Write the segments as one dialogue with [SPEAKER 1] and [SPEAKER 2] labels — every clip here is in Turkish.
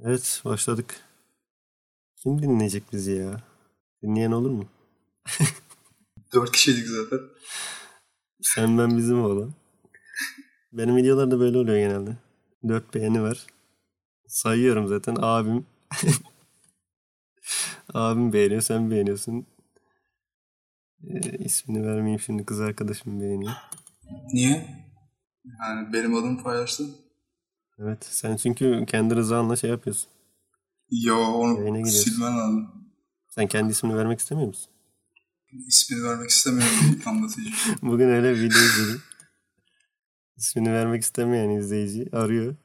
[SPEAKER 1] Evet başladık. Kim dinleyecek bizi ya? Dinleyen olur mu?
[SPEAKER 2] Dört kişiydik zaten.
[SPEAKER 1] Sen ben bizim oğlan. Benim videolarda böyle oluyor genelde. 4 beğeni var. Sayıyorum zaten abim. abim beğeniyor sen beğeniyorsun. Ee, ismini vermeyeyim şimdi kız arkadaşım beğeniyor.
[SPEAKER 2] Niye? Yani benim adımı paylaştın.
[SPEAKER 1] Evet sen çünkü kendi rızanla şey yapıyorsun.
[SPEAKER 2] Yo
[SPEAKER 1] Yayına
[SPEAKER 2] onu
[SPEAKER 1] gidiyorsun.
[SPEAKER 2] silmen lazım.
[SPEAKER 1] Sen kendi ismini vermek istemiyor musun?
[SPEAKER 2] İsmini vermek istemiyorum anlatıcı.
[SPEAKER 1] Bugün öyle bir video izledim. İsmini vermek istemeyen izleyici arıyor.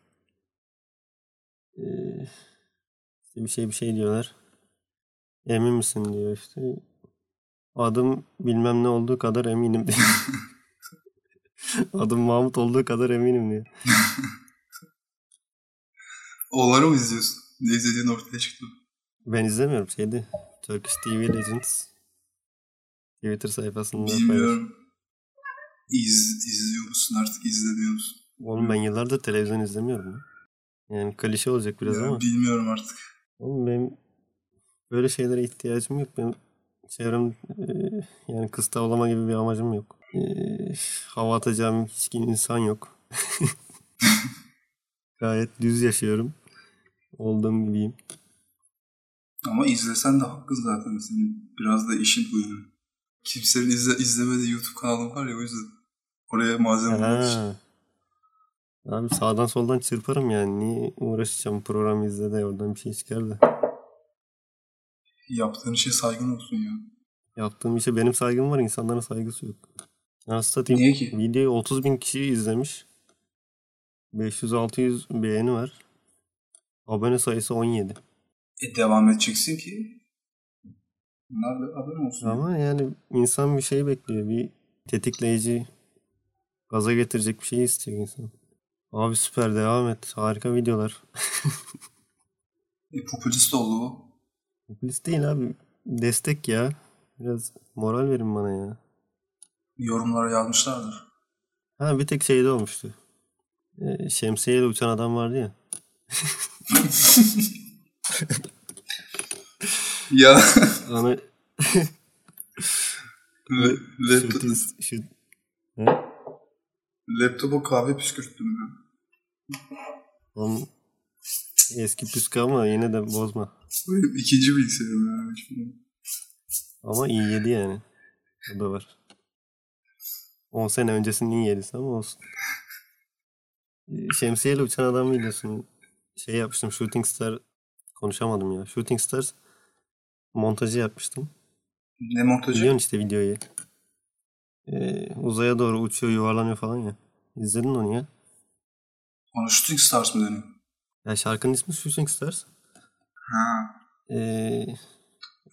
[SPEAKER 1] Ee, işte bir şey bir şey diyorlar. Emin misin diyor işte. Adım bilmem ne olduğu kadar eminim diyor. Adım Mahmut olduğu kadar eminim diyor.
[SPEAKER 2] Onları mı izliyorsun? Ne izlediğin ortaya çıktı.
[SPEAKER 1] Ben izlemiyorum şeydi. Turkish TV Legends Twitter sayfasında paylaşıyor.
[SPEAKER 2] Bilmiyorum. İz, izliyor musun artık izlemiyor musun?
[SPEAKER 1] Oğlum ben yıllardır televizyon izlemiyorum. ya. Yani klişe olacak biraz
[SPEAKER 2] Ya
[SPEAKER 1] ama.
[SPEAKER 2] Bilmiyorum artık.
[SPEAKER 1] Oğlum benim böyle şeylere ihtiyacım yok. Benim çevrem e, yani kız tavlama gibi bir amacım yok. E, hava atacağım hiç insan yok. Gayet düz yaşıyorum. Olduğum gibiyim.
[SPEAKER 2] Ama izlesen de hakkın zaten. Senin biraz da işin bu yani. Kimsenin izle, izlemediği YouTube kanalım var ya o yüzden. Oraya malzeme bulmak için.
[SPEAKER 1] Ha. Abi sağdan soldan çırparım yani. Niye uğraşacağım program izle de oradan bir şey çıkar da.
[SPEAKER 2] Yaptığın işe saygın olsun ya.
[SPEAKER 1] Yaptığım işe benim saygım var. insanların saygısı yok. Nasıl satayım?
[SPEAKER 2] Niye ki?
[SPEAKER 1] Videoyu 30 bin kişi izlemiş. 500-600 beğeni var. Abone sayısı 17.
[SPEAKER 2] E devam edeceksin ki. Bunlar da haber olsun.
[SPEAKER 1] Ama yani insan bir şey bekliyor. Bir tetikleyici gaza getirecek bir şey istiyor insan. Abi süper devam et. Harika videolar.
[SPEAKER 2] E, popülist oldu bu.
[SPEAKER 1] Popülist değil abi. Destek ya. Biraz moral verin bana ya.
[SPEAKER 2] Yorumlara yazmışlardır.
[SPEAKER 1] Ha bir tek şeyde olmuştu. Ee, şemsiyeyle uçan adam vardı ya.
[SPEAKER 2] ya
[SPEAKER 1] Ona
[SPEAKER 2] le- laptop,
[SPEAKER 1] Şutist- şut-
[SPEAKER 2] laptopa kahve püskürttüm ya.
[SPEAKER 1] Oğlum, eski püskü ama yine de bozma.
[SPEAKER 2] Bu Benim ikinci bilgisayarım ya. Şimdi.
[SPEAKER 1] Ama iyi yedi yani. O da var. 10 sene öncesinin iyi yedisi ama olsun. Ee, Şemsiyeyle uçan adam videosunu şey yapmıştım. Shooting Star konuşamadım ya. Shooting Star montajı yapmıştım.
[SPEAKER 2] Ne montajı?
[SPEAKER 1] Biliyorsun işte videoyu. Ee, uzaya doğru uçuyor yuvarlanıyor falan ya. İzledin onu ya.
[SPEAKER 2] Ona Shooting Stars mı deniyor?
[SPEAKER 1] Ya şarkının ismi Shooting Stars.
[SPEAKER 2] Ha.
[SPEAKER 1] Ee,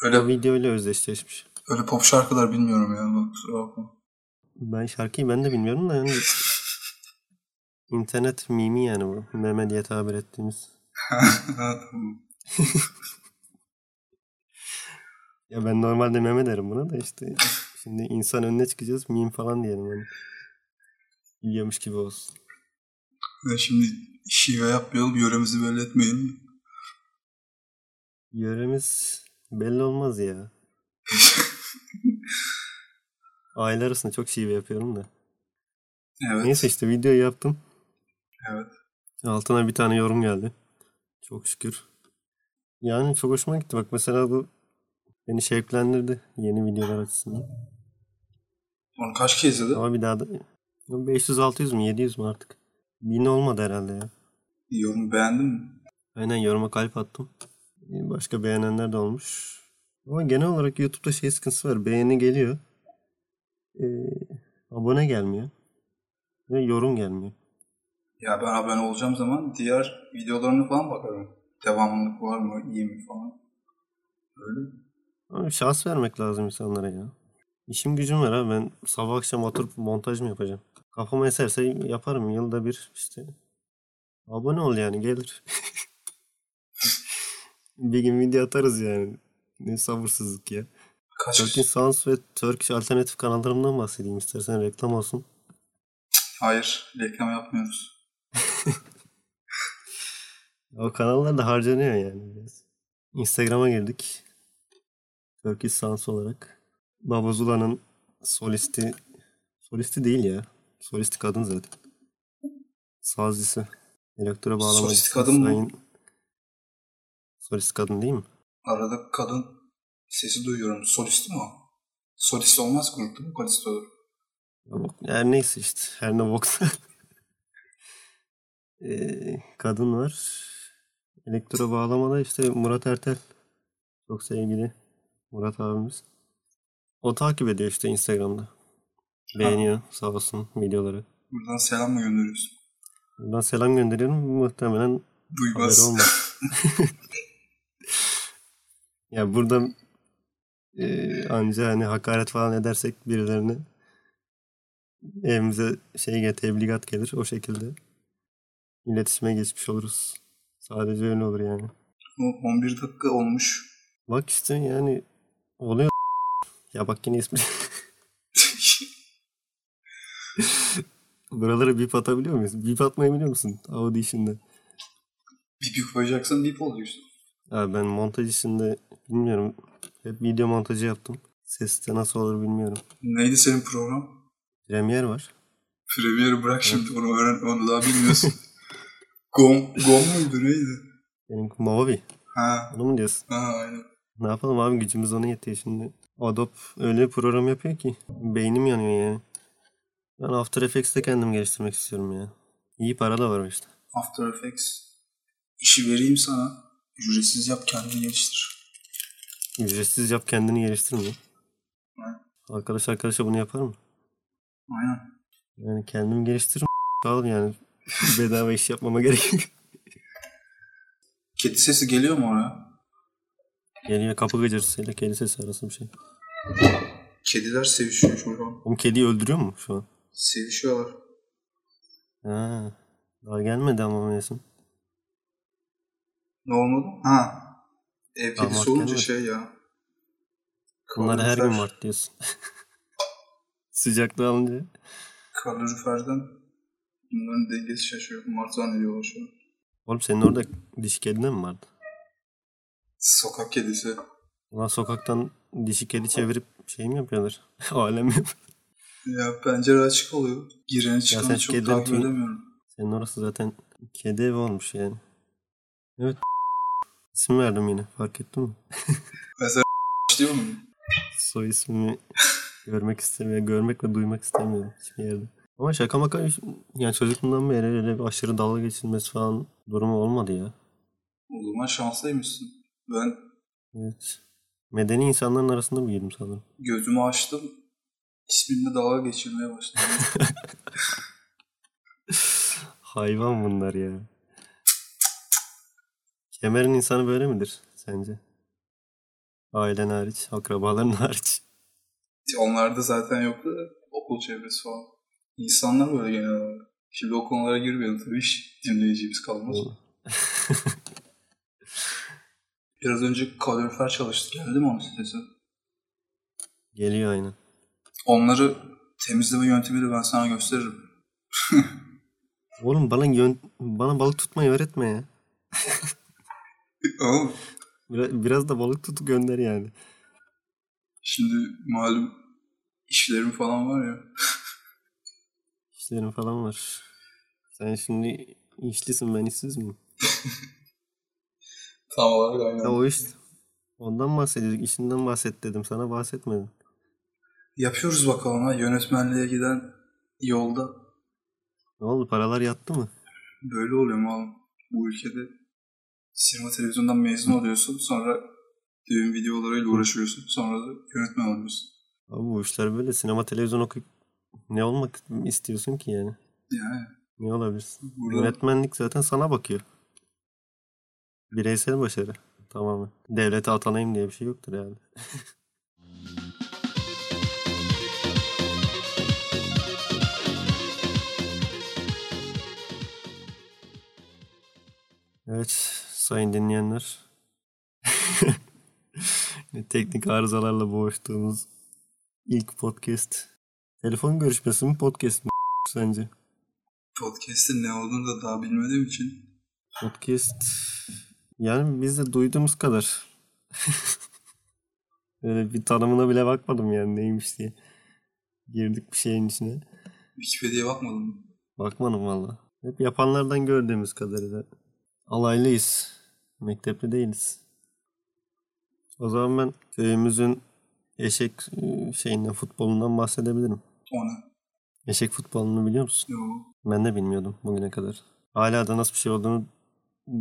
[SPEAKER 1] o
[SPEAKER 2] Öyle,
[SPEAKER 1] videoyla özdeşleşmiş.
[SPEAKER 2] öyle pop şarkılar bilmiyorum ya. Bak, kusura bakma.
[SPEAKER 1] Ben şarkıyı ben de bilmiyorum da yani internet mimi yani bu. Meme diye tabir ettiğimiz.
[SPEAKER 2] Ha, tamam.
[SPEAKER 1] Ya ben normalde meme derim buna da işte şimdi insan önüne çıkacağız meme falan diyelim hani. Yiyormuş gibi olsun.
[SPEAKER 2] Ya şimdi şive yapmayalım. Yöremizi belli etmeyelim.
[SPEAKER 1] Yöremiz belli olmaz ya. Aile arasında çok şive yapıyorum da.
[SPEAKER 2] Evet.
[SPEAKER 1] Neyse işte video yaptım.
[SPEAKER 2] Evet.
[SPEAKER 1] Altına bir tane yorum geldi. Çok şükür. Yani çok hoşuma gitti. Bak mesela bu beni şevklendirdi yeni videolar açısından.
[SPEAKER 2] Onu kaç kez izledin?
[SPEAKER 1] Ama bir daha da 500-600 mü 700 mü artık? 1000 olmadı herhalde ya.
[SPEAKER 2] Yorumu beğendin mi?
[SPEAKER 1] Aynen yoruma kalp attım. Ee, Başka beğenenler de olmuş. Ama genel olarak YouTube'da şey sıkıntısı var. Beğeni geliyor. Ee, abone gelmiyor. Ve yorum gelmiyor.
[SPEAKER 2] Ya ben abone olacağım zaman diğer videolarına falan bakarım. Devamlılık var mı, iyi mi falan. Öyle mi?
[SPEAKER 1] Ama şans vermek lazım insanlara ya. İşim gücüm var ha. Ben sabah akşam oturup montaj mı yapacağım? Kafama eserse yaparım. Yılda bir işte. Abone ol yani gelir. bir gün video atarız yani. Ne sabırsızlık ya.
[SPEAKER 2] Kaç
[SPEAKER 1] Turkish Sounds ve Turkish Alternatif kanallarından bahsedeyim istersen reklam olsun.
[SPEAKER 2] Hayır, reklam yapmıyoruz.
[SPEAKER 1] O kanallar da harcanıyor yani biraz. Instagram'a girdik. Turkish Sans olarak. Babazula'nın solisti solisti değil ya. Solisti kadın zaten. Sazcısı. Elektro bağlamacısı.
[SPEAKER 2] Solist kadın mı?
[SPEAKER 1] Solist kadın değil mi?
[SPEAKER 2] Arada kadın sesi duyuyorum. Solist mi o? Solist olmaz grupta mı? Solist olur.
[SPEAKER 1] Ama Her neyse işte. Her ne boksa. Ee, kadın var. Elektro bağlamada işte Murat Ertel. Çok sevgili Murat abimiz. O takip ediyor işte Instagram'da. Beğeniyor sağ olsun videoları.
[SPEAKER 2] Buradan selam mı gönderiyorsun?
[SPEAKER 1] Buradan selam gönderiyorum. Muhtemelen
[SPEAKER 2] Duymaz.
[SPEAKER 1] Haberi olmaz. ya burada e, anca hani hakaret falan edersek birilerine evimize şey gel tebligat gelir o şekilde iletişime geçmiş oluruz. Sadece öyle olur yani.
[SPEAKER 2] O 11 dakika olmuş.
[SPEAKER 1] Bak işte yani oluyor. Ya bak yine ismi. Buralara bip atabiliyor muyuz? Bip atmayı biliyor musun? Audition'da.
[SPEAKER 2] bir bip koyacaksan bip oluyor işte.
[SPEAKER 1] Ya ben montaj işinde bilmiyorum. Hep video montajı yaptım. Ses de nasıl olur bilmiyorum.
[SPEAKER 2] Neydi senin program?
[SPEAKER 1] Premier var.
[SPEAKER 2] Premier'i bırak şimdi onu öğren. Onu daha bilmiyorsun. Gom, gom muydu neydi?
[SPEAKER 1] Benim Movavi.
[SPEAKER 2] Ha,
[SPEAKER 1] Onu mu diyorsun?
[SPEAKER 2] ha aynen.
[SPEAKER 1] Ne yapalım abi gücümüz ona yetiyor şimdi. Adobe öyle bir program yapıyor ki. Beynim yanıyor yani. Ben After Effects'te kendim geliştirmek istiyorum ya. İyi para da var işte.
[SPEAKER 2] After Effects. İşi vereyim sana. Ücretsiz yap kendini geliştir.
[SPEAKER 1] Ücretsiz yap kendini geliştirme. Arkadaş arkadaşa bunu yapar mı?
[SPEAKER 2] Aynen.
[SPEAKER 1] Yani kendimi geliştiririm. Sağ ol yani. Bedava iş yapmama gerek yok.
[SPEAKER 2] Kedi sesi geliyor mu oraya?
[SPEAKER 1] Geliyor kapı gıcırtısıyla kedi sesi arası bir şey.
[SPEAKER 2] Kediler sevişiyor şu an.
[SPEAKER 1] Oğlum kediyi öldürüyor mu şu an?
[SPEAKER 2] Sevişiyorlar.
[SPEAKER 1] Ha, daha gelmedi ama mevsim.
[SPEAKER 2] Ne olmadı? Ha. Ev
[SPEAKER 1] Tamam,
[SPEAKER 2] kedisi olunca
[SPEAKER 1] gelmedi.
[SPEAKER 2] şey ya.
[SPEAKER 1] Bunlar her gün
[SPEAKER 2] Kalorifer-
[SPEAKER 1] Mart diyorsun. Sıcaklığı alınca.
[SPEAKER 2] Kaloriferden bunların dengesi şaşıyor. Mart zannediyorlar şu an.
[SPEAKER 1] Oğlum senin orada dişi kedine mi vardı?
[SPEAKER 2] Sokak kedisi.
[SPEAKER 1] Ulan sokaktan dişi kedi çevirip şey mi yapıyorlar? Alem mi? yapıyor?
[SPEAKER 2] Ya pencere açık oluyor. Gireni
[SPEAKER 1] sen
[SPEAKER 2] çıkanı çok
[SPEAKER 1] kedinin
[SPEAKER 2] takip
[SPEAKER 1] tüyünü-
[SPEAKER 2] edemiyorum.
[SPEAKER 1] Senin orası zaten kedi evi olmuş yani. Evet. İsim verdim yine fark ettin mi?
[SPEAKER 2] Mesela diyor mu?
[SPEAKER 1] Soy ismimi görmek istemiyorum. Görmek ve duymak istemiyorum hiçbir yerde. Ama şaka maka yani çocukluğumdan beri öyle bir aşırı dalga geçilmesi falan durumu olmadı ya.
[SPEAKER 2] O zaman şanslıymışsın. Ben
[SPEAKER 1] Evet. Medeni insanların arasında mı girdim sanırım?
[SPEAKER 2] gözümü açtım. İsmimle dalga geçirmeye başladım.
[SPEAKER 1] Hayvan bunlar ya. Kemer'in insanı böyle midir sence? Ailen hariç, akrabaların hariç.
[SPEAKER 2] Onlarda zaten yoktu da okul çevresi falan. İnsanlar böyle genel olarak. Şimdi o konulara girmeyelim tabii hiç dinleyicimiz kalmaz. Biraz önce kalorifer çalıştık geldi mi onun sitesi?
[SPEAKER 1] Geliyor aynen.
[SPEAKER 2] Onları temizleme yöntemiyle ben sana gösteririm.
[SPEAKER 1] Oğlum bana yön- bana balık tutmayı öğretme ya.
[SPEAKER 2] Ama
[SPEAKER 1] Biraz, biraz da balık tutup gönder yani.
[SPEAKER 2] şimdi malum işlerim falan var ya.
[SPEAKER 1] İşlerin falan var. Sen şimdi işlisin ben işsiz miyim?
[SPEAKER 2] Tam olarak aynen.
[SPEAKER 1] Ya o iş ondan bahsediyorduk. İşinden bahset dedim. Sana bahsetmedim.
[SPEAKER 2] Yapıyoruz bakalım ha yönetmenliğe giden yolda
[SPEAKER 1] Ne oldu? Paralar yattı mı?
[SPEAKER 2] böyle oluyor mu oğlum? Bu ülkede sinema televizyondan mezun oluyorsun sonra düğün videolarıyla uğraşıyorsun sonra da yönetmen oluyorsun.
[SPEAKER 1] Abi bu işler böyle. Sinema, televizyon okuyup ne olmak istiyorsun ki yani?
[SPEAKER 2] Yani
[SPEAKER 1] Ne olabilirsin?
[SPEAKER 2] Burada-
[SPEAKER 1] Yönetmenlik zaten sana bakıyor. Bireysel başarı tamamen. Devlete atanayım diye bir şey yoktur yani. Evet sayın dinleyenler. Teknik arızalarla boğuştuğumuz ilk podcast. Telefon görüşmesi mi podcast mi sence?
[SPEAKER 2] podcast'in ne olduğunu da daha bilmediğim için
[SPEAKER 1] Podcast yani biz de duyduğumuz kadar. Böyle bir tanımına bile bakmadım yani neymiş diye. Girdik bir şeyin içine.
[SPEAKER 2] Wikipedia'ya bakmadım.
[SPEAKER 1] Bakmadım valla. Hep yapanlardan gördüğümüz kadarıyla. Alaylıyız. Mektepli değiliz. O zaman ben köyümüzün eşek e, şeyinden futbolundan bahsedebilirim.
[SPEAKER 2] O ne?
[SPEAKER 1] Eşek futbolunu biliyor musun?
[SPEAKER 2] Yo.
[SPEAKER 1] Ben de bilmiyordum bugüne kadar. Hala da nasıl bir şey olduğunu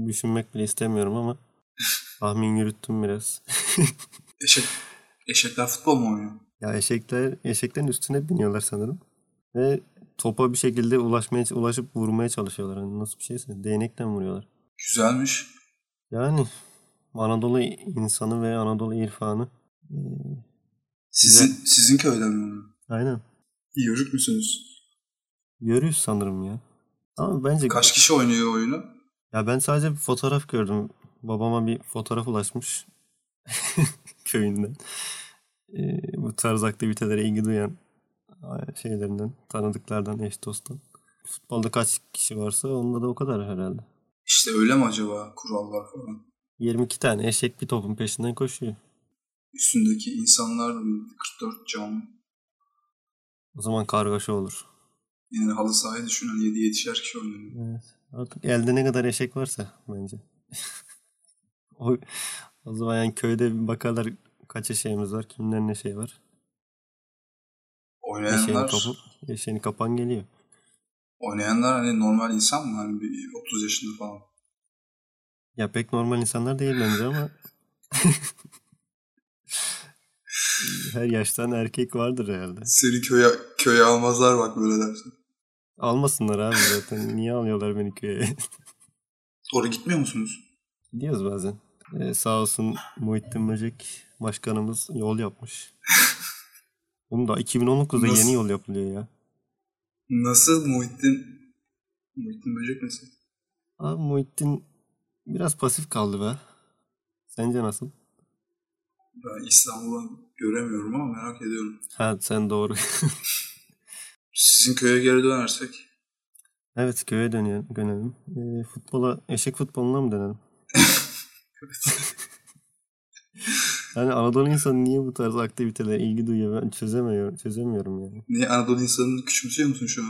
[SPEAKER 1] düşünmek bile istemiyorum ama tahmin yürüttüm biraz.
[SPEAKER 2] Eşek. Eşekler futbol mu oynuyor?
[SPEAKER 1] ya eşekler eşeklerin üstüne biniyorlar sanırım. Ve topa bir şekilde ulaşmaya ulaşıp vurmaya çalışıyorlar. Hani nasıl bir şeyse değnekle vuruyorlar.
[SPEAKER 2] Güzelmiş.
[SPEAKER 1] Yani Anadolu insanı ve Anadolu irfanı. Ee,
[SPEAKER 2] Sizin sizin köyden mi oynuyor?
[SPEAKER 1] Aynen.
[SPEAKER 2] Yörük müsünüz?
[SPEAKER 1] Yörüyüz sanırım ya. Ama bence
[SPEAKER 2] Kaç kişi oynuyor oyunu?
[SPEAKER 1] Ya ben sadece bir fotoğraf gördüm. Babama bir fotoğraf ulaşmış köyünden. Ee, bu tarz aktivitelere ilgi duyan şeylerinden, tanıdıklardan, eş dosttan. Futbolda kaç kişi varsa onda da o kadar herhalde.
[SPEAKER 2] İşte öyle mi acaba kurallar falan?
[SPEAKER 1] 22 tane eşek bir topun peşinden koşuyor.
[SPEAKER 2] Üstündeki insanlar da bir 44 canlı.
[SPEAKER 1] O zaman kargaşa olur.
[SPEAKER 2] Yani halı sahayı düşün hani 7 7'şer kişi oynuyor.
[SPEAKER 1] Evet. Artık elde ne kadar eşek varsa bence. o, o zaman yani köyde bir bakarlar kaç eşeğimiz var, kimden ne şey var. Eşeğin,
[SPEAKER 2] Oynayanlar,
[SPEAKER 1] kapı, eşeğin kapan geliyor.
[SPEAKER 2] oynayanlar hani normal insan mı? Hani bir 30 yaşında falan.
[SPEAKER 1] Ya pek normal insanlar değil bence ama her yaştan erkek vardır herhalde.
[SPEAKER 2] Seni köye, köye almazlar bak böyle dersin.
[SPEAKER 1] Almasınlar abi zaten. Niye alıyorlar beni köye?
[SPEAKER 2] Doğru gitmiyor musunuz?
[SPEAKER 1] Gidiyoruz bazen. Ee, sağ olsun Muhittin Böcek başkanımız yol yapmış. Bunu da 2019'da
[SPEAKER 2] Nasıl?
[SPEAKER 1] yeni yol yapılıyor ya.
[SPEAKER 2] Nasıl Muhittin? Muhittin Böcek nasıl?
[SPEAKER 1] Abi Muhittin biraz pasif kaldı be. Sence nasıl?
[SPEAKER 2] Ben İstanbul'a göremiyorum ama merak ediyorum.
[SPEAKER 1] Ha sen doğru.
[SPEAKER 2] Sizin köye geri dönersek
[SPEAKER 1] evet köye dönüyorum, dönelim. Ee, futbola, eşek futboluna mı dönelim? Yani Anadolu insanı niye bu tarz aktivitelere ilgi duyuyor ben çözemiyorum, çözemiyorum yani.
[SPEAKER 2] Niye Anadolu insanını küçümsüyor musun şu an?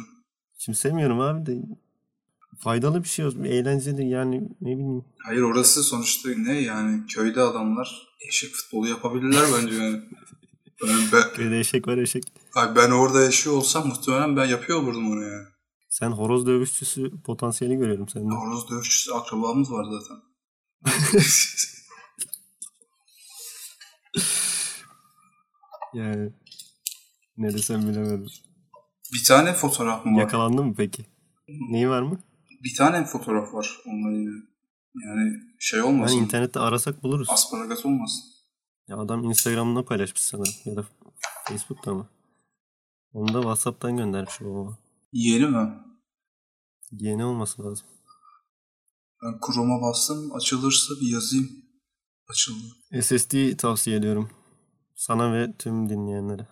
[SPEAKER 1] Çözemiyorum abi de faydalı bir şey olsun, eğlenceli yani ne bileyim.
[SPEAKER 2] Hayır orası sonuçta ne yani köyde adamlar eşek futbolu yapabilirler bence yani. Ben, ben,
[SPEAKER 1] Köyde eşek var eşek.
[SPEAKER 2] ay ben orada yaşıyor olsam muhtemelen ben yapıyor olurdum onu yani.
[SPEAKER 1] Sen horoz dövüşçüsü potansiyeli görüyorum sende.
[SPEAKER 2] Horoz dövüşçüsü akrabamız var zaten.
[SPEAKER 1] Yani ne desem bilemedim.
[SPEAKER 2] bir tane fotoğraf mı var?
[SPEAKER 1] Yakalandın mı peki? Neyi var mı?
[SPEAKER 2] Bir tane fotoğraf var onunla yine. Yani şey
[SPEAKER 1] Hani
[SPEAKER 2] olmasın.
[SPEAKER 1] internette arasak buluruz.
[SPEAKER 2] Asparagas olmasın.
[SPEAKER 1] Ya adam Instagram'da paylaşmış sanırım ya da Facebook'ta mı? Onu da WhatsApp'tan göndermiş babama.
[SPEAKER 2] Yeni mi?
[SPEAKER 1] Yeni olması lazım.
[SPEAKER 2] Ben Chrome'a bastım. Açılırsa bir yazayım. Açıldı.
[SPEAKER 1] SSD tavsiye ediyorum. Sana ve tüm dinleyenlere.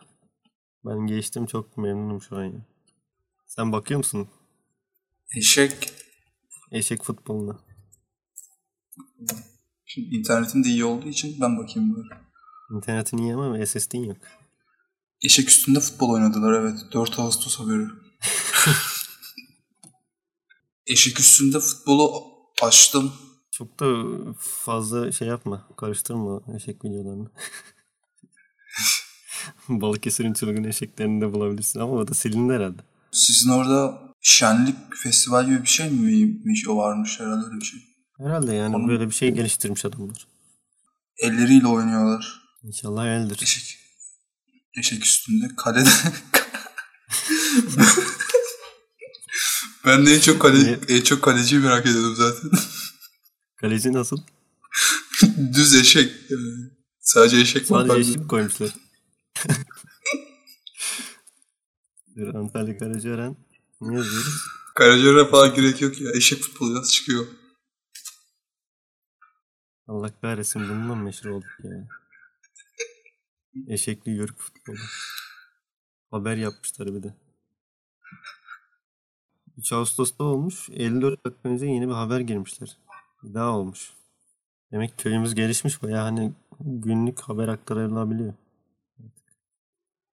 [SPEAKER 1] Ben geçtim çok memnunum şu an ya. Sen bakıyor musun
[SPEAKER 2] Eşek.
[SPEAKER 1] eşek futboluna?
[SPEAKER 2] Şimdi internetim de iyi olduğu için ben bakayım böyle.
[SPEAKER 1] İnternetin iyi ama SSD'in yok.
[SPEAKER 2] Eşek üstünde futbol oynadılar evet. 4 Ağustos haberi. Eşek üstünde futbolu açtım.
[SPEAKER 1] Çok da fazla şey yapma. Karıştırma eşek videolarını. Balıkesir'in çılgın eşeklerini de bulabilirsin ama o da silindi herhalde.
[SPEAKER 2] Sizin orada şenlik festival gibi bir şey miymiş? O varmış herhalde öyle bir şey.
[SPEAKER 1] Herhalde yani
[SPEAKER 2] Onun-
[SPEAKER 1] böyle bir şey geliştirmiş adamlar.
[SPEAKER 2] Elleriyle oynuyorlar.
[SPEAKER 1] İnşallah eldir.
[SPEAKER 2] Eşek. Eşek üstünde kalede. ben de en çok kale, en çok kaleciyi merak ediyordum zaten.
[SPEAKER 1] Kaleci nasıl?
[SPEAKER 2] Düz eşek. yani. Sadece eşek var.
[SPEAKER 1] Sadece eşlik koymuşlar. Bir Antalya Karacaören. Ne yazıyoruz?
[SPEAKER 2] Karaciğere falan gerek yok ya. Eşek futbolu yaz çıkıyor.
[SPEAKER 1] Allah kahretsin bununla mı meşhur olduk ya? Eşekli yörük futbolu. Haber yapmışlar bir de. 3 Ağustos'ta olmuş. 54 dakika önce yeni bir haber girmişler. Bir Daha olmuş. Demek köyümüz gelişmiş bayağı hani günlük haber aktarılabiliyor.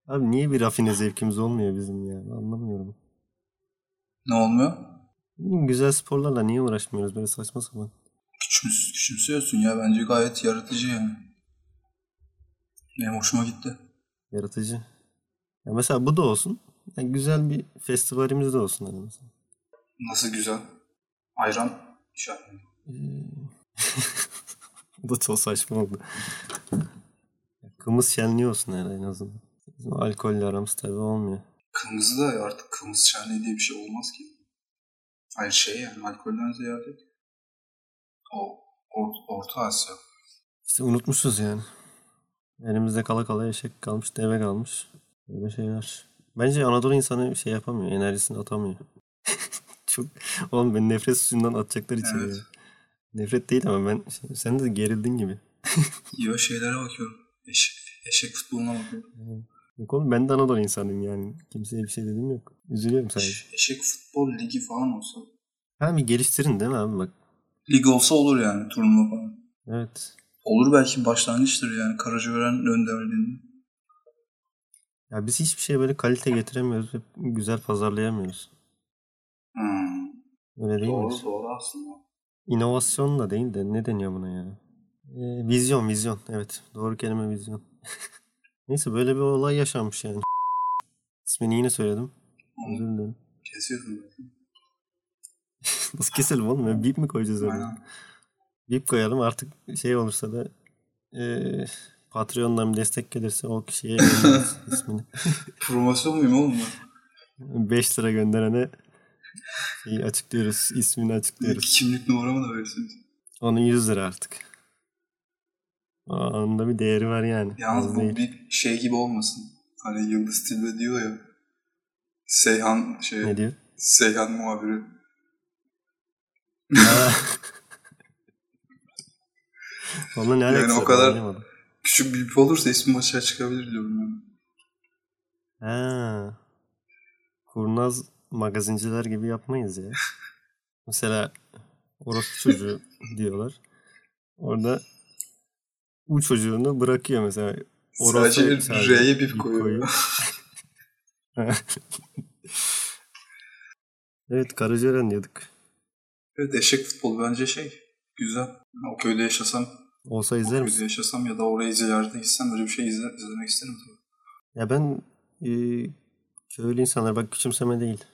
[SPEAKER 1] Abi niye bir rafine zevkimiz olmuyor bizim ya? Anlamıyorum.
[SPEAKER 2] Ne olmuyor?
[SPEAKER 1] Bilmiyorum, Güzel sporlarla niye uğraşmıyoruz böyle saçma sapan?
[SPEAKER 2] Küçümsüz, küçümsüyorsun ya. Bence gayet yaratıcı yani. Benim hoşuma gitti.
[SPEAKER 1] Yaratıcı. Ya mesela bu da olsun. Ya güzel bir festivalimiz de olsun hani mesela.
[SPEAKER 2] Nasıl güzel. Ayran şey
[SPEAKER 1] Bu da çok saçma oldu. Ya Kımız şenliği olsun herhalde en azından. Bizim alkolle aramız tabii olmuyor.
[SPEAKER 2] Kırmızı da ya artık kırmızı şenliği diye bir şey olmaz ki. Hayır şey yani alkolden ziyade o or- Orta Asya.
[SPEAKER 1] İşte unutmuşuz yani. Elimizde kala kala eşek kalmış, deve kalmış. Böyle şeyler. Bence Anadolu insanı bir şey yapamıyor. Enerjisini atamıyor. Çok... Oğlum ben nefret suyundan atacaklar içeri.
[SPEAKER 2] Evet.
[SPEAKER 1] ya. Nefret değil ama ben... Sen de gerildin gibi.
[SPEAKER 2] Yo şeylere bakıyorum. Eşek, eşek futboluna bakıyorum.
[SPEAKER 1] Yok oğlum ben de Anadolu insanıyım yani. Kimseye bir şey dedim yok. Üzülüyorum sadece.
[SPEAKER 2] Eş- eşek futbol ligi falan olsa.
[SPEAKER 1] Ha bir geliştirin değil mi abi bak.
[SPEAKER 2] Lig olsa olur yani turnuva falan.
[SPEAKER 1] Evet.
[SPEAKER 2] Olur belki başlangıçtır yani Karacaören'in önderliğinde.
[SPEAKER 1] Ya biz hiçbir şeye böyle kalite getiremiyoruz. ve Güzel pazarlayamıyoruz.
[SPEAKER 2] Hmm.
[SPEAKER 1] Öyle değil mi?
[SPEAKER 2] Doğru doğru aslında.
[SPEAKER 1] İnovasyon da değil de ne deniyor buna ya? Ee, vizyon, vizyon. Evet. Doğru kelime vizyon. Neyse böyle bir olay yaşanmış yani. İsmini yine söyledim. Özür dilerim.
[SPEAKER 2] Kesiyorsun.
[SPEAKER 1] Nasıl keselim oğlum? ya? Bip mi koyacağız öyle?
[SPEAKER 2] Aynen.
[SPEAKER 1] Bip koyalım artık şey olursa da eee Patreon'dan bir destek gelirse o kişiye göndeririz ismini.
[SPEAKER 2] Promosyon muyum oğlum ben?
[SPEAKER 1] 5 lira gönderene şeyi açıklıyoruz. ismini açıklıyoruz.
[SPEAKER 2] Kimlik numaramı da verirsiniz.
[SPEAKER 1] Onun 100 lira artık. Aa, Onun da bir değeri var yani. Az
[SPEAKER 2] Yalnız bu
[SPEAKER 1] değil.
[SPEAKER 2] bir şey gibi olmasın. Hani Yıldız Tilbe diyor ya. Seyhan şey,
[SPEAKER 1] Ne diyor?
[SPEAKER 2] Seyhan muhabiri.
[SPEAKER 1] Aa. Onunla ne
[SPEAKER 2] Yani
[SPEAKER 1] alakası
[SPEAKER 2] o
[SPEAKER 1] var?
[SPEAKER 2] kadar-
[SPEAKER 1] Anlayamadım.
[SPEAKER 2] Küçük bir ip olursa ismi başa çıkabilir diyorum ben.
[SPEAKER 1] Ha. Kurnaz magazinciler gibi yapmayız ya. Mesela orospu çocuğu diyorlar. Orada u çocuğunu bırakıyor mesela. Orospu
[SPEAKER 2] Sadece
[SPEAKER 1] sadece
[SPEAKER 2] R'ye bir
[SPEAKER 1] ip
[SPEAKER 2] koyuyor.
[SPEAKER 1] koyuyor. evet Karaceren diyorduk.
[SPEAKER 2] evet eşek futbol bence şey güzel. O köyde yaşasam,
[SPEAKER 1] Olsa izler
[SPEAKER 2] köyde
[SPEAKER 1] misin?
[SPEAKER 2] yaşasam ya da orayı ziyarete gitsem böyle bir şey izle, izlemek isterim tabii.
[SPEAKER 1] Ya ben e, köylü insanlar bak küçümseme değil.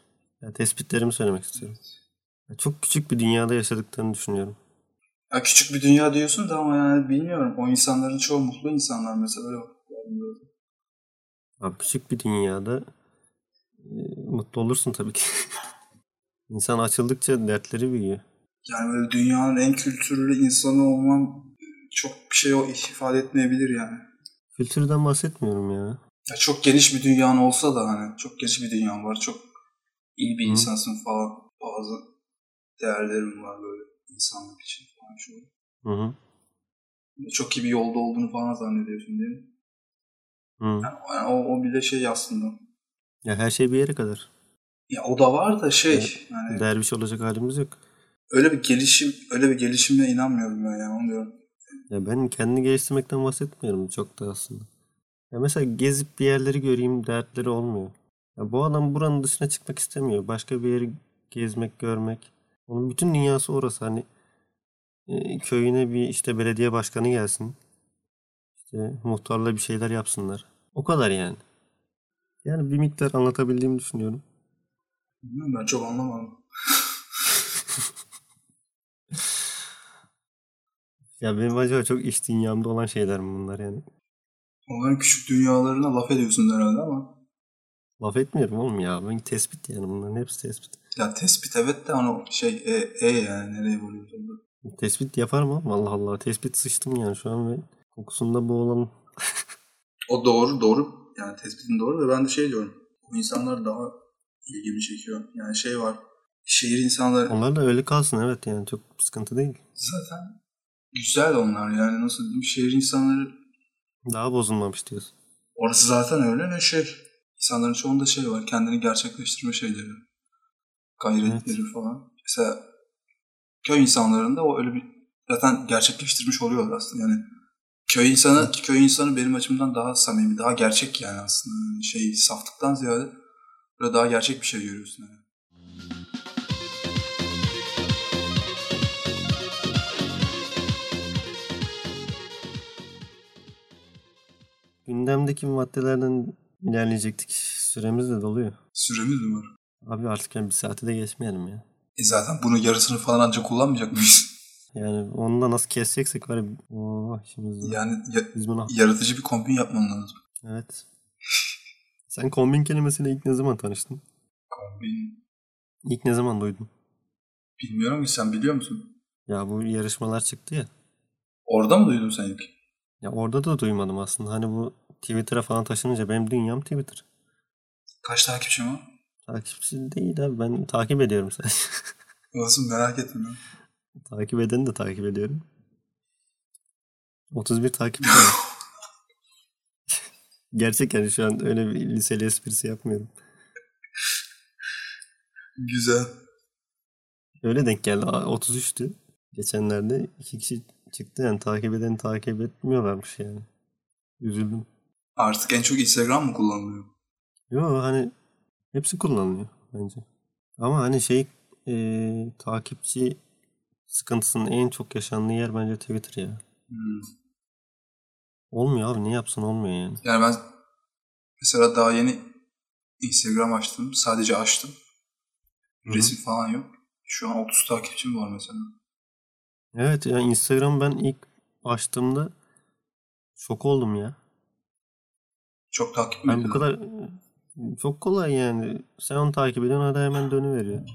[SPEAKER 1] Ya tespitlerimi söylemek istiyorum. Ya çok küçük bir dünyada yaşadıklarını düşünüyorum.
[SPEAKER 2] Ya küçük bir dünya diyorsun da ama yani bilmiyorum. O insanların çoğu mutlu insanlar mesela öyle bak. Yani böyle.
[SPEAKER 1] Abi küçük bir dünyada e, mutlu olursun tabii ki. İnsan açıldıkça dertleri büyüyor.
[SPEAKER 2] Yani böyle dünyanın en kültürlü insanı olmam çok bir şey o- ifade etmeyebilir yani.
[SPEAKER 1] Kültürden bahsetmiyorum ya.
[SPEAKER 2] Ya çok geniş bir dünyan olsa da hani çok geniş bir dünyan var. Çok iyi bir
[SPEAKER 1] Hı.
[SPEAKER 2] insansın falan. Bazı değerlerim var böyle insanlık için falan şu.
[SPEAKER 1] Hı hı.
[SPEAKER 2] Çok iyi bir yolda olduğunu falan zannediyorsun değil mi?
[SPEAKER 1] hı.
[SPEAKER 2] Yani o, o bile şey aslında.
[SPEAKER 1] Ya her şey bir yere kadar.
[SPEAKER 2] Ya o da var da şey yani
[SPEAKER 1] Derviş olacak halimiz yok.
[SPEAKER 2] öyle bir gelişim öyle bir gelişime inanmıyorum ben yani onu diyorum.
[SPEAKER 1] Ya ben kendini geliştirmekten bahsetmiyorum çok da aslında. Ya mesela gezip bir yerleri göreyim dertleri olmuyor. Ya bu adam buranın dışına çıkmak istemiyor. Başka bir yeri gezmek, görmek. Onun bütün dünyası orası. Hani e, köyüne bir işte belediye başkanı gelsin. İşte muhtarla bir şeyler yapsınlar. O kadar yani. Yani bir miktar anlatabildiğimi düşünüyorum.
[SPEAKER 2] Bilmiyorum, ben çok anlamadım.
[SPEAKER 1] Ya benim acaba çok iç dünyamda olan şeyler mi bunlar yani?
[SPEAKER 2] Onların küçük dünyalarına laf ediyorsun herhalde ama.
[SPEAKER 1] Laf etmiyorum oğlum ya. Ben tespit yani bunların hepsi tespit.
[SPEAKER 2] Ya tespit evet de hani o şey e, e yani nereye vuruyorsun?
[SPEAKER 1] Tespit yapar mı? Allah Allah. Tespit sıçtım yani şu an ve kokusunda boğulalım.
[SPEAKER 2] O doğru doğru yani tespitin doğru da ben de şey diyorum. Bu insanlar daha ilgimi çekiyor. Yani şey var. Şehir insanları
[SPEAKER 1] Onlar da öyle kalsın evet yani çok sıkıntı değil.
[SPEAKER 2] zaten güzel onlar yani nasıl diyeyim şehir insanları
[SPEAKER 1] Daha bozulmamış diyorsun.
[SPEAKER 2] orası zaten öyle ne şey. İnsanların çoğunda şey var kendini gerçekleştirme şeyleri. gayretleri falan. Mesela köy insanlarında o öyle bir zaten gerçekleştirmiş oluyorlar aslında. Yani köy insanı köy insanı benim açımdan daha samimi, daha gerçek yani aslında. Yani şey saflıktan ziyade böyle daha gerçek bir şey görüyorsun yani.
[SPEAKER 1] Gündemdeki maddelerden ilerleyecektik. Süremiz de doluyor.
[SPEAKER 2] Süremiz mi var?
[SPEAKER 1] Abi artık yani bir saate de geçmeyelim ya.
[SPEAKER 2] E zaten bunun yarısını falan ancak kullanmayacak mıyız?
[SPEAKER 1] Yani onu da nasıl keseceksek var ya. Oo, işimiz var.
[SPEAKER 2] Yani ya-
[SPEAKER 1] Biz bunu...
[SPEAKER 2] yaratıcı bir kombin yapman lazım.
[SPEAKER 1] Evet. Sen kombin kelimesiyle ilk ne zaman tanıştın?
[SPEAKER 2] Kombin
[SPEAKER 1] İlk ne zaman duydun?
[SPEAKER 2] bilmiyorum ki sen biliyor musun?
[SPEAKER 1] Ya bu yarışmalar çıktı ya.
[SPEAKER 2] Orada mı duydun sen ilk?
[SPEAKER 1] Ya orada da duymadım aslında. Hani bu Twitter'a falan taşınınca benim dünyam Twitter.
[SPEAKER 2] Kaç takipçim var?
[SPEAKER 1] Takipçi değil abi ben takip ediyorum sadece.
[SPEAKER 2] Olsun merak etme. lan.
[SPEAKER 1] takip edeni de takip ediyorum. 31 takipçi var. Gerçek yani şu an öyle bir liseli esprisi yapmıyorum.
[SPEAKER 2] Güzel.
[SPEAKER 1] Öyle denk geldi. Aa, 33'tü. Geçenlerde iki kişi çıktı yani takip edeni takip etmiyorlarmış yani. Üzüldüm.
[SPEAKER 2] Artık en çok Instagram mı kullanılıyor?
[SPEAKER 1] Yo hani hepsi kullanılıyor bence. Ama hani şey e, takipçi sıkıntısının en çok yaşandığı yer bence Twitter ya.
[SPEAKER 2] Hmm.
[SPEAKER 1] Olmuyor abi ne yapsın olmuyor yani.
[SPEAKER 2] Yani ben mesela daha yeni Instagram açtım. Sadece açtım.
[SPEAKER 1] Hı hı.
[SPEAKER 2] Resim falan yok. Şu an 30 takipçim var mesela.
[SPEAKER 1] Evet ya Instagram ben ilk açtığımda şok oldum ya.
[SPEAKER 2] Çok takip mi
[SPEAKER 1] Ben bu
[SPEAKER 2] ediyorum?
[SPEAKER 1] kadar çok kolay yani. Sen onu takip ediyorsun hadi hemen dönüveriyor.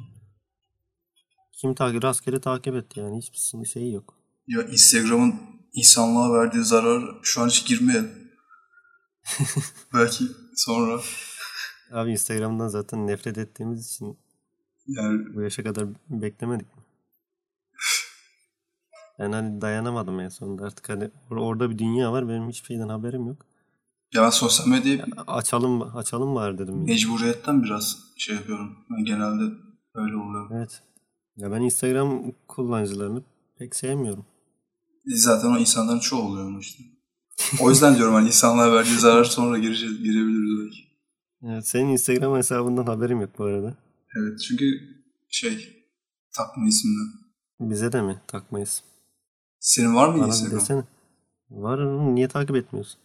[SPEAKER 1] Kim takip rastgele takip et yani hiçbir sınır şeyi yok.
[SPEAKER 2] Ya Instagram'ın insanlığa verdiği zarar şu an hiç girmeyelim. Belki sonra
[SPEAKER 1] Abi Instagram'dan zaten nefret ettiğimiz için
[SPEAKER 2] yani
[SPEAKER 1] bu yaşa kadar beklemedik mi? Ben hani dayanamadım en sonunda artık hani or- orada bir dünya var benim hiçbir şeyden haberim yok.
[SPEAKER 2] ya ben sosyal medyayı
[SPEAKER 1] Açalım açalım var dedim. ya.
[SPEAKER 2] mecburiyetten biraz şey yapıyorum. Ben genelde öyle oluyor.
[SPEAKER 1] Evet. Ya ben Instagram kullanıcılarını pek sevmiyorum.
[SPEAKER 2] E, Zaten o insanların çoğu oluyor ama işte. O yüzden diyorum hani insanlığa verdiği zarar sonra gireceğiz, girebiliriz belki.
[SPEAKER 1] Evet, senin Instagram hesabından haberim yok bu arada.
[SPEAKER 2] Evet çünkü şey takma isimli.
[SPEAKER 1] Bize de mi takmayız?
[SPEAKER 2] Senin var mı
[SPEAKER 1] Bana bir
[SPEAKER 2] Instagram?
[SPEAKER 1] desene. Var oğlum, niye takip etmiyorsun?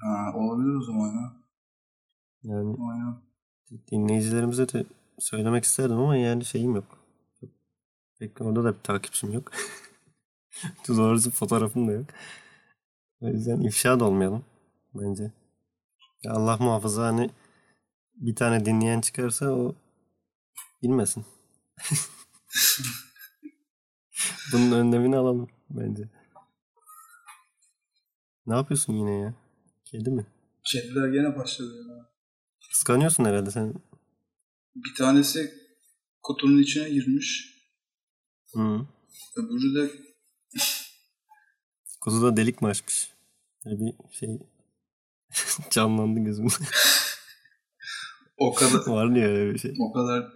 [SPEAKER 2] Ha, olabilir o zaman ya.
[SPEAKER 1] Yani
[SPEAKER 2] Aynen.
[SPEAKER 1] dinleyicilerimize de söylemek isterdim ama yani şeyim yok. Pek orada da bir takipçim yok. Doğrusu fotoğrafım da yok. O yüzden ifşa da olmayalım bence. Ya Allah muhafaza hani bir tane dinleyen çıkarsa o bilmesin. Bunun önlemini alalım bence. Ne yapıyorsun yine ya? Kedi mi?
[SPEAKER 2] Kediler gene başladı ya.
[SPEAKER 1] Kıskanıyorsun herhalde sen.
[SPEAKER 2] Bir tanesi kutunun içine girmiş.
[SPEAKER 1] Hı.
[SPEAKER 2] Öbürü de
[SPEAKER 1] Kuzuda delik mi açmış? Böyle bir şey canlandı gözümde.
[SPEAKER 2] o kadar
[SPEAKER 1] Var ya öyle bir şey.
[SPEAKER 2] o kadar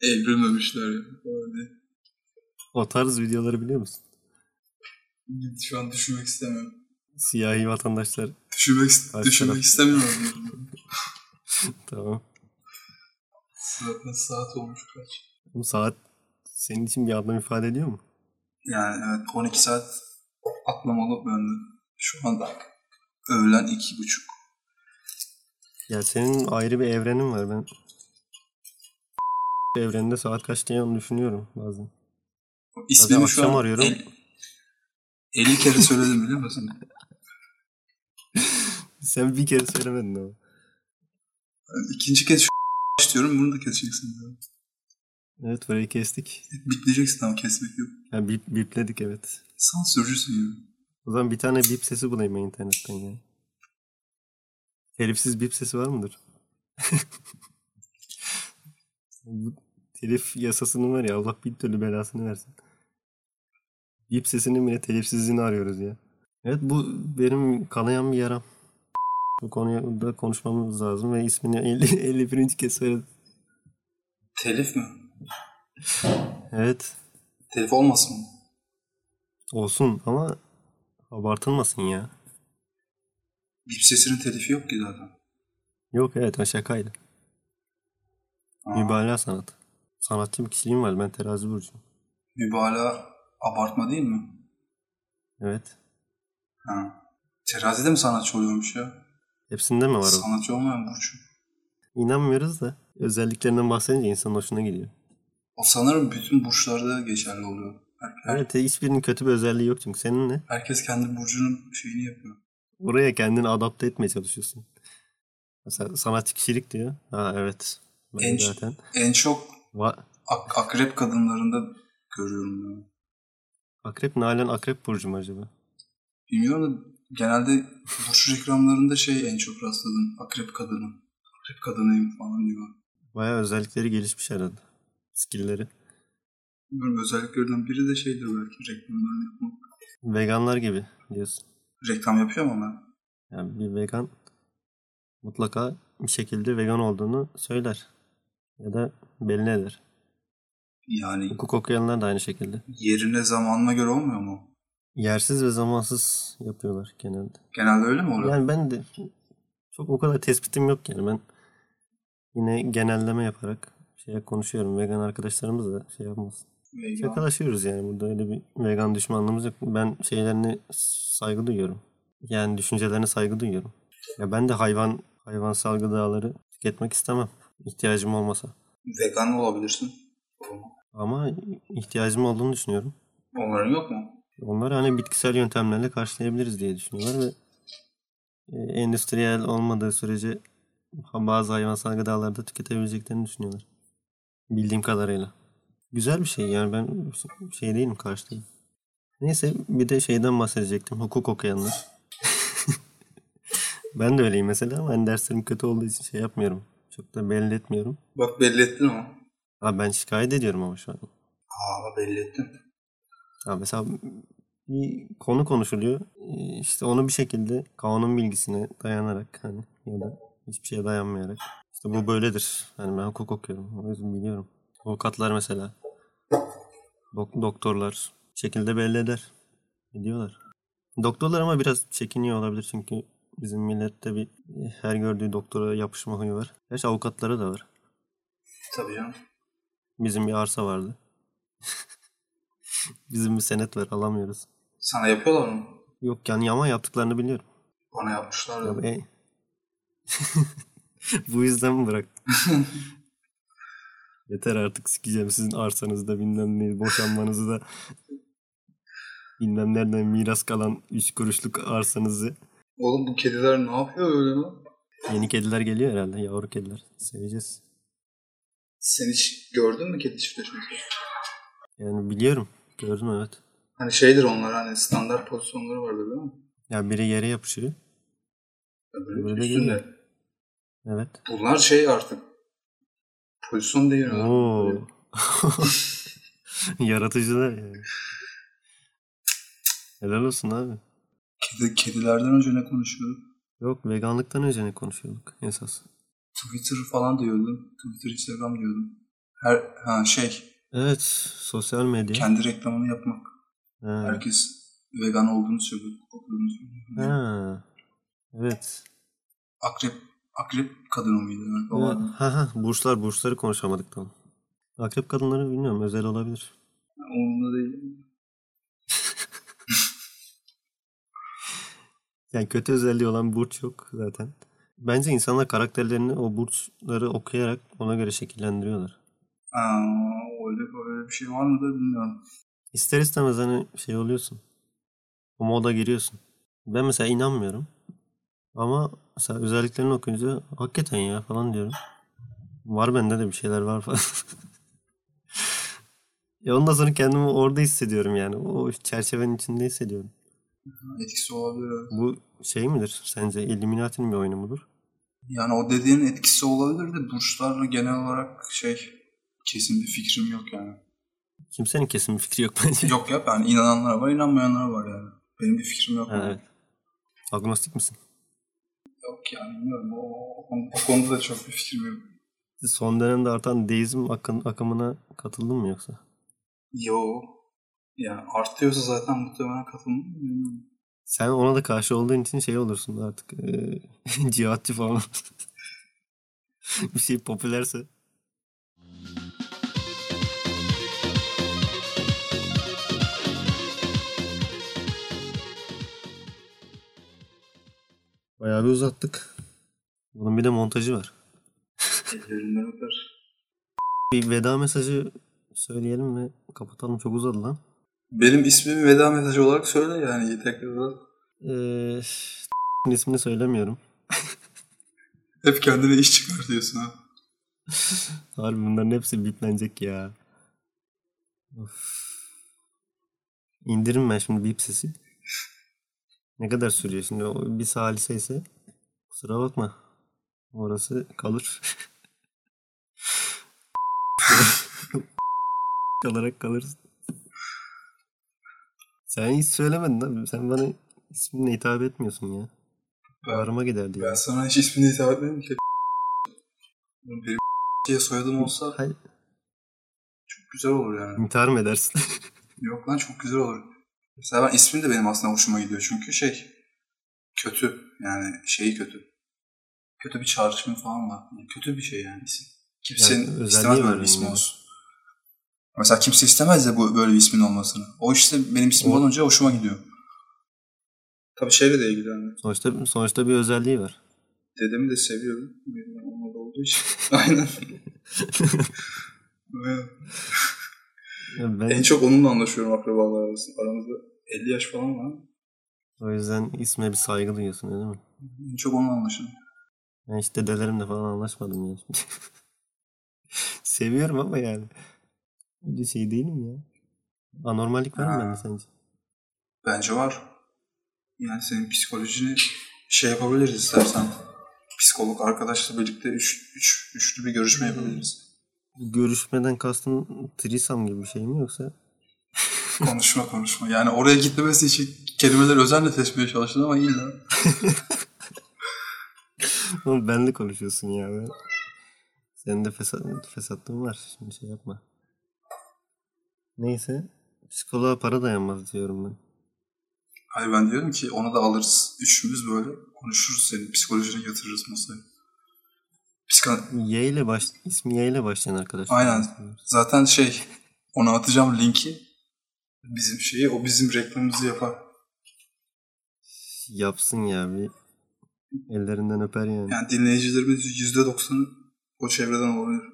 [SPEAKER 2] evrilmemişler ya. Yani
[SPEAKER 1] O tarz videoları biliyor musun?
[SPEAKER 2] şu an düşünmek istemiyorum.
[SPEAKER 1] Siyahi vatandaşlar.
[SPEAKER 2] Düşünmek,
[SPEAKER 1] Kaç
[SPEAKER 2] düşünmek
[SPEAKER 1] taraf?
[SPEAKER 2] istemiyorum.
[SPEAKER 1] Tamam.
[SPEAKER 2] Zaten saat olmuş kaç.
[SPEAKER 1] Bu saat senin için bir anlam ifade ediyor mu?
[SPEAKER 2] Yani evet 12 saat atlamalı bende. Şu an öğlen iki buçuk.
[SPEAKER 1] Ya senin ayrı bir evrenin var ben. evreninde saat kaç diye onu düşünüyorum bazen.
[SPEAKER 2] İsmini şu
[SPEAKER 1] akşam
[SPEAKER 2] an
[SPEAKER 1] arıyorum.
[SPEAKER 2] 50 kere söyledim biliyor musun?
[SPEAKER 1] Sen bir kere söylemedin ama.
[SPEAKER 2] Yani ikinci kez şu diyorum bunu da keseceksin. diyor.
[SPEAKER 1] Evet burayı kestik.
[SPEAKER 2] Bitleyeceksin ama kesmek yok.
[SPEAKER 1] Ya bip, bipledik evet.
[SPEAKER 2] Sansürcüsün ya.
[SPEAKER 1] O zaman bir tane bip sesi bulayım ben internetten ya. Telifsiz bip sesi var mıdır? Bu Telif yasasının var ya Allah bir türlü belasını versin. Bip sesinin bile telifsizliğini arıyoruz ya. Evet bu benim kanayan bir yaram. Bu konuda konuşmamız lazım ve ismini 50, 51. kez söyledim.
[SPEAKER 2] Telif mi?
[SPEAKER 1] Evet.
[SPEAKER 2] Telif olmasın mı?
[SPEAKER 1] Olsun ama abartılmasın ya.
[SPEAKER 2] Bip sesinin telifi yok ki zaten.
[SPEAKER 1] Yok evet o şakaydı.
[SPEAKER 2] Aa,
[SPEAKER 1] Mübalağa sanat. Sanatçı bir kişiliğim var. Ben terazi burcuyum.
[SPEAKER 2] mübalağa abartma değil mi?
[SPEAKER 1] Evet.
[SPEAKER 2] Ha. Terazide mi sanatçı oluyormuş ya?
[SPEAKER 1] Hepsinde mi var o?
[SPEAKER 2] Sanatçı olmayan Burcu.
[SPEAKER 1] İnanmıyoruz da özelliklerinden bahsedince insanın hoşuna gidiyor.
[SPEAKER 2] O sanırım bütün burçlarda geçerli oluyor. Her- her-
[SPEAKER 1] Evet hiçbirinin kötü bir özelliği yok çünkü. Senin ne?
[SPEAKER 2] Herkes kendi burcunun şeyini yapıyor.
[SPEAKER 1] Oraya kendini adapte etmeye çalışıyorsun. Mesela sanatçı kişilik diyor. Ha evet. Ben
[SPEAKER 2] En-
[SPEAKER 1] zaten.
[SPEAKER 2] En çok
[SPEAKER 1] Va-
[SPEAKER 2] ak- akrep kadınlarında görüyorum ben.
[SPEAKER 1] akrep Nalan akrep burcu mu acaba?
[SPEAKER 2] Bilmiyorum da genelde burç reklamlarında şey en çok rastladım. Akrep kadını. Akrep kadınıyım falan diyor.
[SPEAKER 1] Bayağı özellikleri gelişmiş herhalde. Skillleri.
[SPEAKER 2] Bilmiyorum özelliklerinden biri de şeydir belki reklamlarını yapmak.
[SPEAKER 1] Veganlar gibi diyorsun.
[SPEAKER 2] Reklam yapıyor ama ben.
[SPEAKER 1] Yani bir vegan mutlaka bir şekilde vegan olduğunu söyler. Ya da belli eder.
[SPEAKER 2] Yani
[SPEAKER 1] Hukuk okuyanlar da aynı şekilde.
[SPEAKER 2] yerine zamanına göre olmuyor mu?
[SPEAKER 1] Yersiz ve zamansız yapıyorlar genelde.
[SPEAKER 2] Genelde öyle mi oluyor?
[SPEAKER 1] Yani ben de çok o kadar tespitim yok yani ben yine genelleme yaparak şey konuşuyorum. Vegan arkadaşlarımız da şey yapmasın.
[SPEAKER 2] Vegan.
[SPEAKER 1] Şakalaşıyoruz yani burada öyle bir vegan düşmanlığımız yok. Ben şeylerine saygı duyuyorum. Yani düşüncelerine saygı duyuyorum. Ya ben de hayvan hayvansal gıdaları tüketmek istemem. İhtiyacım olmasa.
[SPEAKER 2] Vegan olabilirsin.
[SPEAKER 1] Ama ihtiyacım olduğunu düşünüyorum.
[SPEAKER 2] Onların yok mu?
[SPEAKER 1] Onları hani bitkisel yöntemlerle karşılayabiliriz diye düşünüyorlar ve e, endüstriyel olmadığı sürece bazı hayvansal gıdaları da tüketebileceklerini düşünüyorlar. Bildiğim kadarıyla. Güzel bir şey yani ben şey değilim karşıtıyım. Neyse bir de şeyden bahsedecektim. Hukuk okuyanlar. ben de öyleyim mesela ama hani derslerim kötü olduğu için şey yapmıyorum. Çok da belli etmiyorum.
[SPEAKER 2] Bak belli ettin ama.
[SPEAKER 1] Abi ben şikayet ediyorum ama şu an.
[SPEAKER 2] Aa ama belli ettin.
[SPEAKER 1] Ya mesela bir konu konuşuluyor. Ee, İşte onu bir şekilde kanun bilgisine dayanarak hani ya da hiçbir şeye dayanmayarak. İşte bu böyledir. Hani ben hukuk okuyorum. O yüzden biliyorum. Avukatlar mesela. dok- doktorlar bir şekilde belli eder. Ediyorlar. Doktorlar ama biraz çekiniyor olabilir çünkü bizim millette bir her gördüğü doktora yapışma huyu var. Gerçi avukatlara da var.
[SPEAKER 2] E, Tabii canım.
[SPEAKER 1] Bizim bir arsa vardı. bizim bir senet var alamıyoruz.
[SPEAKER 2] Sana yapıyorlar mı?
[SPEAKER 1] Yok yani ama yaptıklarını biliyorum.
[SPEAKER 2] Bana yapmışlar.
[SPEAKER 1] Ya be- Bu yüzden mi bıraktın? Yeter artık sikeceğim sizin arsanızda bilmem ne boşanmanızı da bilmem nereden miras kalan 3 kuruşluk arsanızı.
[SPEAKER 2] Oğlum bu kediler ne yapıyor öyle lan?
[SPEAKER 1] Yeni kediler geliyor herhalde yavru kediler. Seveceğiz.
[SPEAKER 2] Sen hiç gördün mü kedi çiftleşmesi?
[SPEAKER 1] Yani biliyorum. Gördüm evet.
[SPEAKER 2] Hani şeydir onlar hani standart pozisyonları vardır değil mi?
[SPEAKER 1] Ya biri yere yapışıyor.
[SPEAKER 2] Öbürü
[SPEAKER 1] Öbürü de
[SPEAKER 2] üstünde.
[SPEAKER 1] geliyor. Evet.
[SPEAKER 2] Bunlar şey artık. Pozisyon değil mi?
[SPEAKER 1] Oo. Yaratıcılar yani. Helal olsun abi.
[SPEAKER 2] Kedi, kedilerden önce ne konuşuyorduk?
[SPEAKER 1] Yok veganlıktan önce ne konuşuyorduk esas?
[SPEAKER 2] Twitter falan diyordum. Twitter, Instagram diyordum. Her ha şey
[SPEAKER 1] Evet sosyal medya.
[SPEAKER 2] kendi reklamını yapmak.
[SPEAKER 1] ha.
[SPEAKER 2] Herkes vegan olduğunu söylüyor. Olduğunu söylüyor.
[SPEAKER 1] ha. Evet.
[SPEAKER 2] Akrep akrep kadını mıydı?
[SPEAKER 1] Ha,
[SPEAKER 2] Baba.
[SPEAKER 1] ha, burçlar burçları konuşamadık tam. Akrep kadınları bilmiyorum özel olabilir.
[SPEAKER 2] Onunla değil.
[SPEAKER 1] Yani kötü özelliği olan burç yok zaten. Bence insanlar karakterlerini o burçları okuyarak ona göre şekillendiriyorlar.
[SPEAKER 2] Aa, öyle, öyle bir şey var mı da bilmiyorum.
[SPEAKER 1] İster istemez hani şey oluyorsun. O moda giriyorsun. Ben mesela inanmıyorum. Ama mesela özelliklerini okuyunca hakikaten ya falan diyorum. Var bende de bir şeyler var falan. ya ondan sonra kendimi orada hissediyorum yani. O çerçevenin içinde hissediyorum.
[SPEAKER 2] Etkisi olabilir. evet.
[SPEAKER 1] Bu şey midir sence? Illuminati'nin bir oyunu mudur?
[SPEAKER 2] Yani o dediğin etkisi olabilir de burçlarla genel olarak şey kesin bir fikrim yok yani.
[SPEAKER 1] Kimsenin kesin bir fikri yok bence.
[SPEAKER 2] yok ya ben inananlar var inanmayanlar var yani. Benim bir fikrim yok.
[SPEAKER 1] Ha, evet. Agnostik misin?
[SPEAKER 2] Yok yani bilmiyorum o, o, konu- o konuda da çok bir fikrim yok.
[SPEAKER 1] son dönemde artan deizm akın, akımına katıldın mı yoksa?
[SPEAKER 2] Yo. Yani artıyorsa zaten muhtemelen katılmam. bilmiyorum.
[SPEAKER 1] Sen ona da karşı olduğun için şey olursun artık. eee, cihatçı falan. bir şey popülerse. Bayağı bir uzattık. Bunun bir de montajı var.
[SPEAKER 2] Ellerimden öper.
[SPEAKER 1] Bir veda mesajı söyleyelim ve kapatalım. Çok uzadı lan.
[SPEAKER 2] Benim ismimi veda mesajı olarak söyle yani tekrar.
[SPEAKER 1] Eee ismini söylemiyorum.
[SPEAKER 2] Hep kendine iş çıkartıyorsun ha.
[SPEAKER 1] Harbi bunların hepsi biplenecek ya. Of. İndiririm ben şimdi bip sesi. Ne kadar sürüyor şimdi? O bir salise ise kusura bakma. Orası kalır. Kalarak kalırsın. Sen hiç söylemedin abi. Sen bana isminle hitap etmiyorsun ya.
[SPEAKER 2] Ben,
[SPEAKER 1] Bağrıma giderdi ya.
[SPEAKER 2] ben sana hiç ismini hitap etmedim ki. Benim diye soyadım olsa
[SPEAKER 1] Hayır,
[SPEAKER 2] çok güzel olur yani.
[SPEAKER 1] intihar mı edersin?
[SPEAKER 2] Yok lan çok güzel olur. Mesela ben ismi de benim aslında hoşuma gidiyor çünkü şey kötü yani şeyi kötü. Kötü bir çağrışımı falan var. Yani kötü bir şey yani isim. Kimsenin
[SPEAKER 1] özelliği
[SPEAKER 2] istemez
[SPEAKER 1] var
[SPEAKER 2] böyle bir
[SPEAKER 1] bunun
[SPEAKER 2] ismi
[SPEAKER 1] yani.
[SPEAKER 2] olsun. Mesela kimse istemez de bu böyle bir ismin olmasını. O işte benim ismim
[SPEAKER 1] O-
[SPEAKER 2] olunca hoşuma gidiyor. Tabii şeyle de ilgili yani.
[SPEAKER 1] sonuçta, sonuçta bir özelliği var.
[SPEAKER 2] Dedemi de seviyorum. Benim onunla da olduğu için. Aynen. Ve
[SPEAKER 1] Ya ben
[SPEAKER 2] en çok onunla anlaşıyorum akrabalar arasında. Aramızda 50 yaş falan var.
[SPEAKER 1] O yüzden isme bir saygı duyuyorsun öyle mi?
[SPEAKER 2] En çok onunla anlaşıyorum.
[SPEAKER 1] Ben hiç dedelerimle falan anlaşmadım ya. Seviyorum ama yani. Öyle şey değilim ya. Anormallik var mı
[SPEAKER 2] Ha.
[SPEAKER 1] bende sence?
[SPEAKER 2] Bence var. Yani senin psikolojini şey yapabiliriz istersen. Psikolog arkadaşla birlikte üç, üç, üçlü bir görüşme yapabiliriz.
[SPEAKER 1] Görüşmeden kastın trisam gibi bir şey mi yoksa?
[SPEAKER 2] konuşma konuşma. Yani oraya gitmemesi için kelimeleri özenle seçmeye çalıştım ama illa.
[SPEAKER 1] Oğlum benle konuşuyorsun ya. Ben... Senin de fesat, fesatlığın var. Şimdi şey yapma. Neyse. Psikoloğa para dayanmaz diyorum ben.
[SPEAKER 2] Hayır ben diyorum ki onu da alırız. Üçümüz böyle konuşuruz senin psikolojini yatırırız masaya. Psika...
[SPEAKER 1] Y ile baş... ismi Y ile başlayan arkadaşlar.
[SPEAKER 2] Aynen. Zaten şey ona atacağım linki. Bizim şeyi o bizim reklamımızı yapar.
[SPEAKER 1] Yapsın ya bir. Ellerinden öper yani.
[SPEAKER 2] Yani dinleyicilerimiz %90'ı o çevreden olabilir.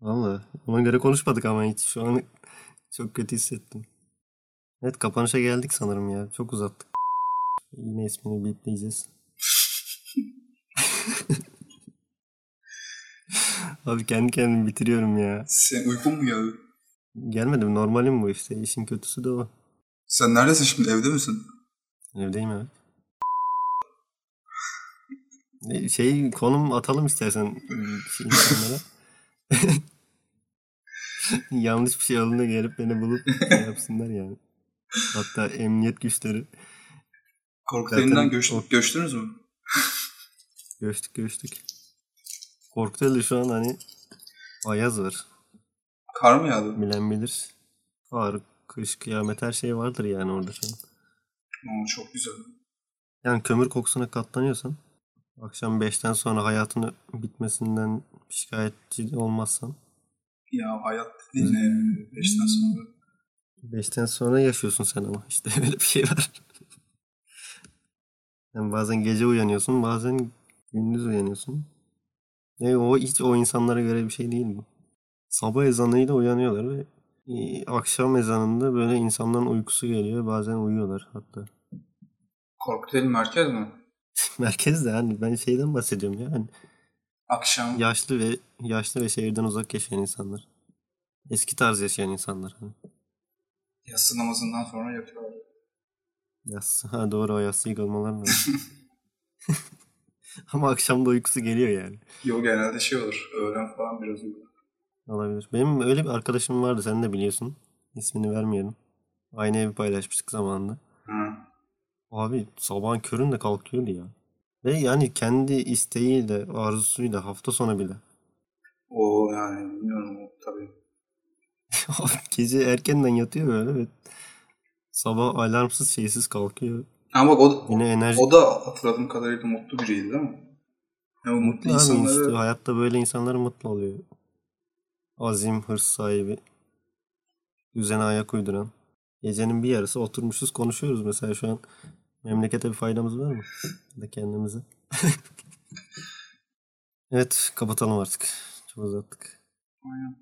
[SPEAKER 1] Valla ona göre konuşmadık ama hiç şu an çok kötü hissettim. Evet kapanışa geldik sanırım ya. Çok uzattık. Yine ismini bipleyeceğiz. Abi kendi kendimi bitiriyorum ya.
[SPEAKER 2] Sen uykun mu geldi?
[SPEAKER 1] Gelmedim normalim bu işte. İşin kötüsü de o.
[SPEAKER 2] Sen neredesin şimdi evde misin?
[SPEAKER 1] Evdeyim evet. E, Şey konum atalım istersen şey, insanlara. Yanlış bir şey olduğunda gelip beni bulup şey yapsınlar yani. Hatta emniyet güçleri.
[SPEAKER 2] Korkularından
[SPEAKER 1] Zaten
[SPEAKER 2] göç,
[SPEAKER 1] o-
[SPEAKER 2] göçtünüz mü?
[SPEAKER 1] Göçtük göçtük. Korkuteli şu an hani ayaz var.
[SPEAKER 2] Kar mı yağdı?
[SPEAKER 1] Bilen bilir. Ağır, kış, kıyamet her şey vardır yani orada şu an.
[SPEAKER 2] Oo, çok güzel.
[SPEAKER 1] Yani kömür kokusuna katlanıyorsan, akşam 5'ten sonra hayatını bitmesinden şikayetçi olmazsan,
[SPEAKER 2] Ya hayat dediğin ne? Beşten sonra.
[SPEAKER 1] 5'ten sonra yaşıyorsun sen ama işte öyle bir şey var. Yani bazen gece uyanıyorsun, bazen gündüz uyanıyorsun. E o hiç o insanlara göre bir şey değil bu. Sabah ezanıyla uyanıyorlar ve e, akşam ezanında böyle insanların uykusu geliyor, bazen uyuyorlar hatta.
[SPEAKER 2] Korkuteli merkez mi?
[SPEAKER 1] Merkezde hani ben şeyden bahsediyorum ya. hani
[SPEAKER 2] Akşam.
[SPEAKER 1] yaşlı ve yaşlı ve şehirden uzak yaşayan insanlar. Eski tarz yaşayan insanlar. Hani
[SPEAKER 2] Yatsı namazından sonra yatıyorlar.
[SPEAKER 1] Yas, ha doğru o yassı yıkılmalar mı? Ama akşam da uykusu geliyor yani.
[SPEAKER 2] Yo genelde şey olur. Öğlen falan biraz uyuyor.
[SPEAKER 1] Olabilir. Benim öyle bir arkadaşım vardı sen de biliyorsun. İsmini vermeyelim. Aynı evi paylaşmıştık zamanında.
[SPEAKER 2] Hı.
[SPEAKER 1] Abi sabahın köründe kalkıyordu ya. Ve yani kendi isteğiyle, arzusuyla hafta sonu bile.
[SPEAKER 2] O yani bilmiyorum o tabii.
[SPEAKER 1] Gece erkenden yatıyor böyle. ve Sabah alarmsız şeysiz kalkıyor.
[SPEAKER 2] Ama bak o,
[SPEAKER 1] Yine enerji
[SPEAKER 2] o da hatırladığım kadarıyla mutlu biriydi değil mi? Yani o mutlu
[SPEAKER 1] mutlu abi
[SPEAKER 2] insanları
[SPEAKER 1] işte. Hayatta böyle insanlar mutlu oluyor. Azim, hırs sahibi. Düzene ayak uyduran. Gecenin bir yarısı oturmuşuz konuşuyoruz mesela şu an. Memlekete bir faydamız var mı? Ya da kendimize. evet kapatalım artık. Çok uzattık.
[SPEAKER 2] Aynen.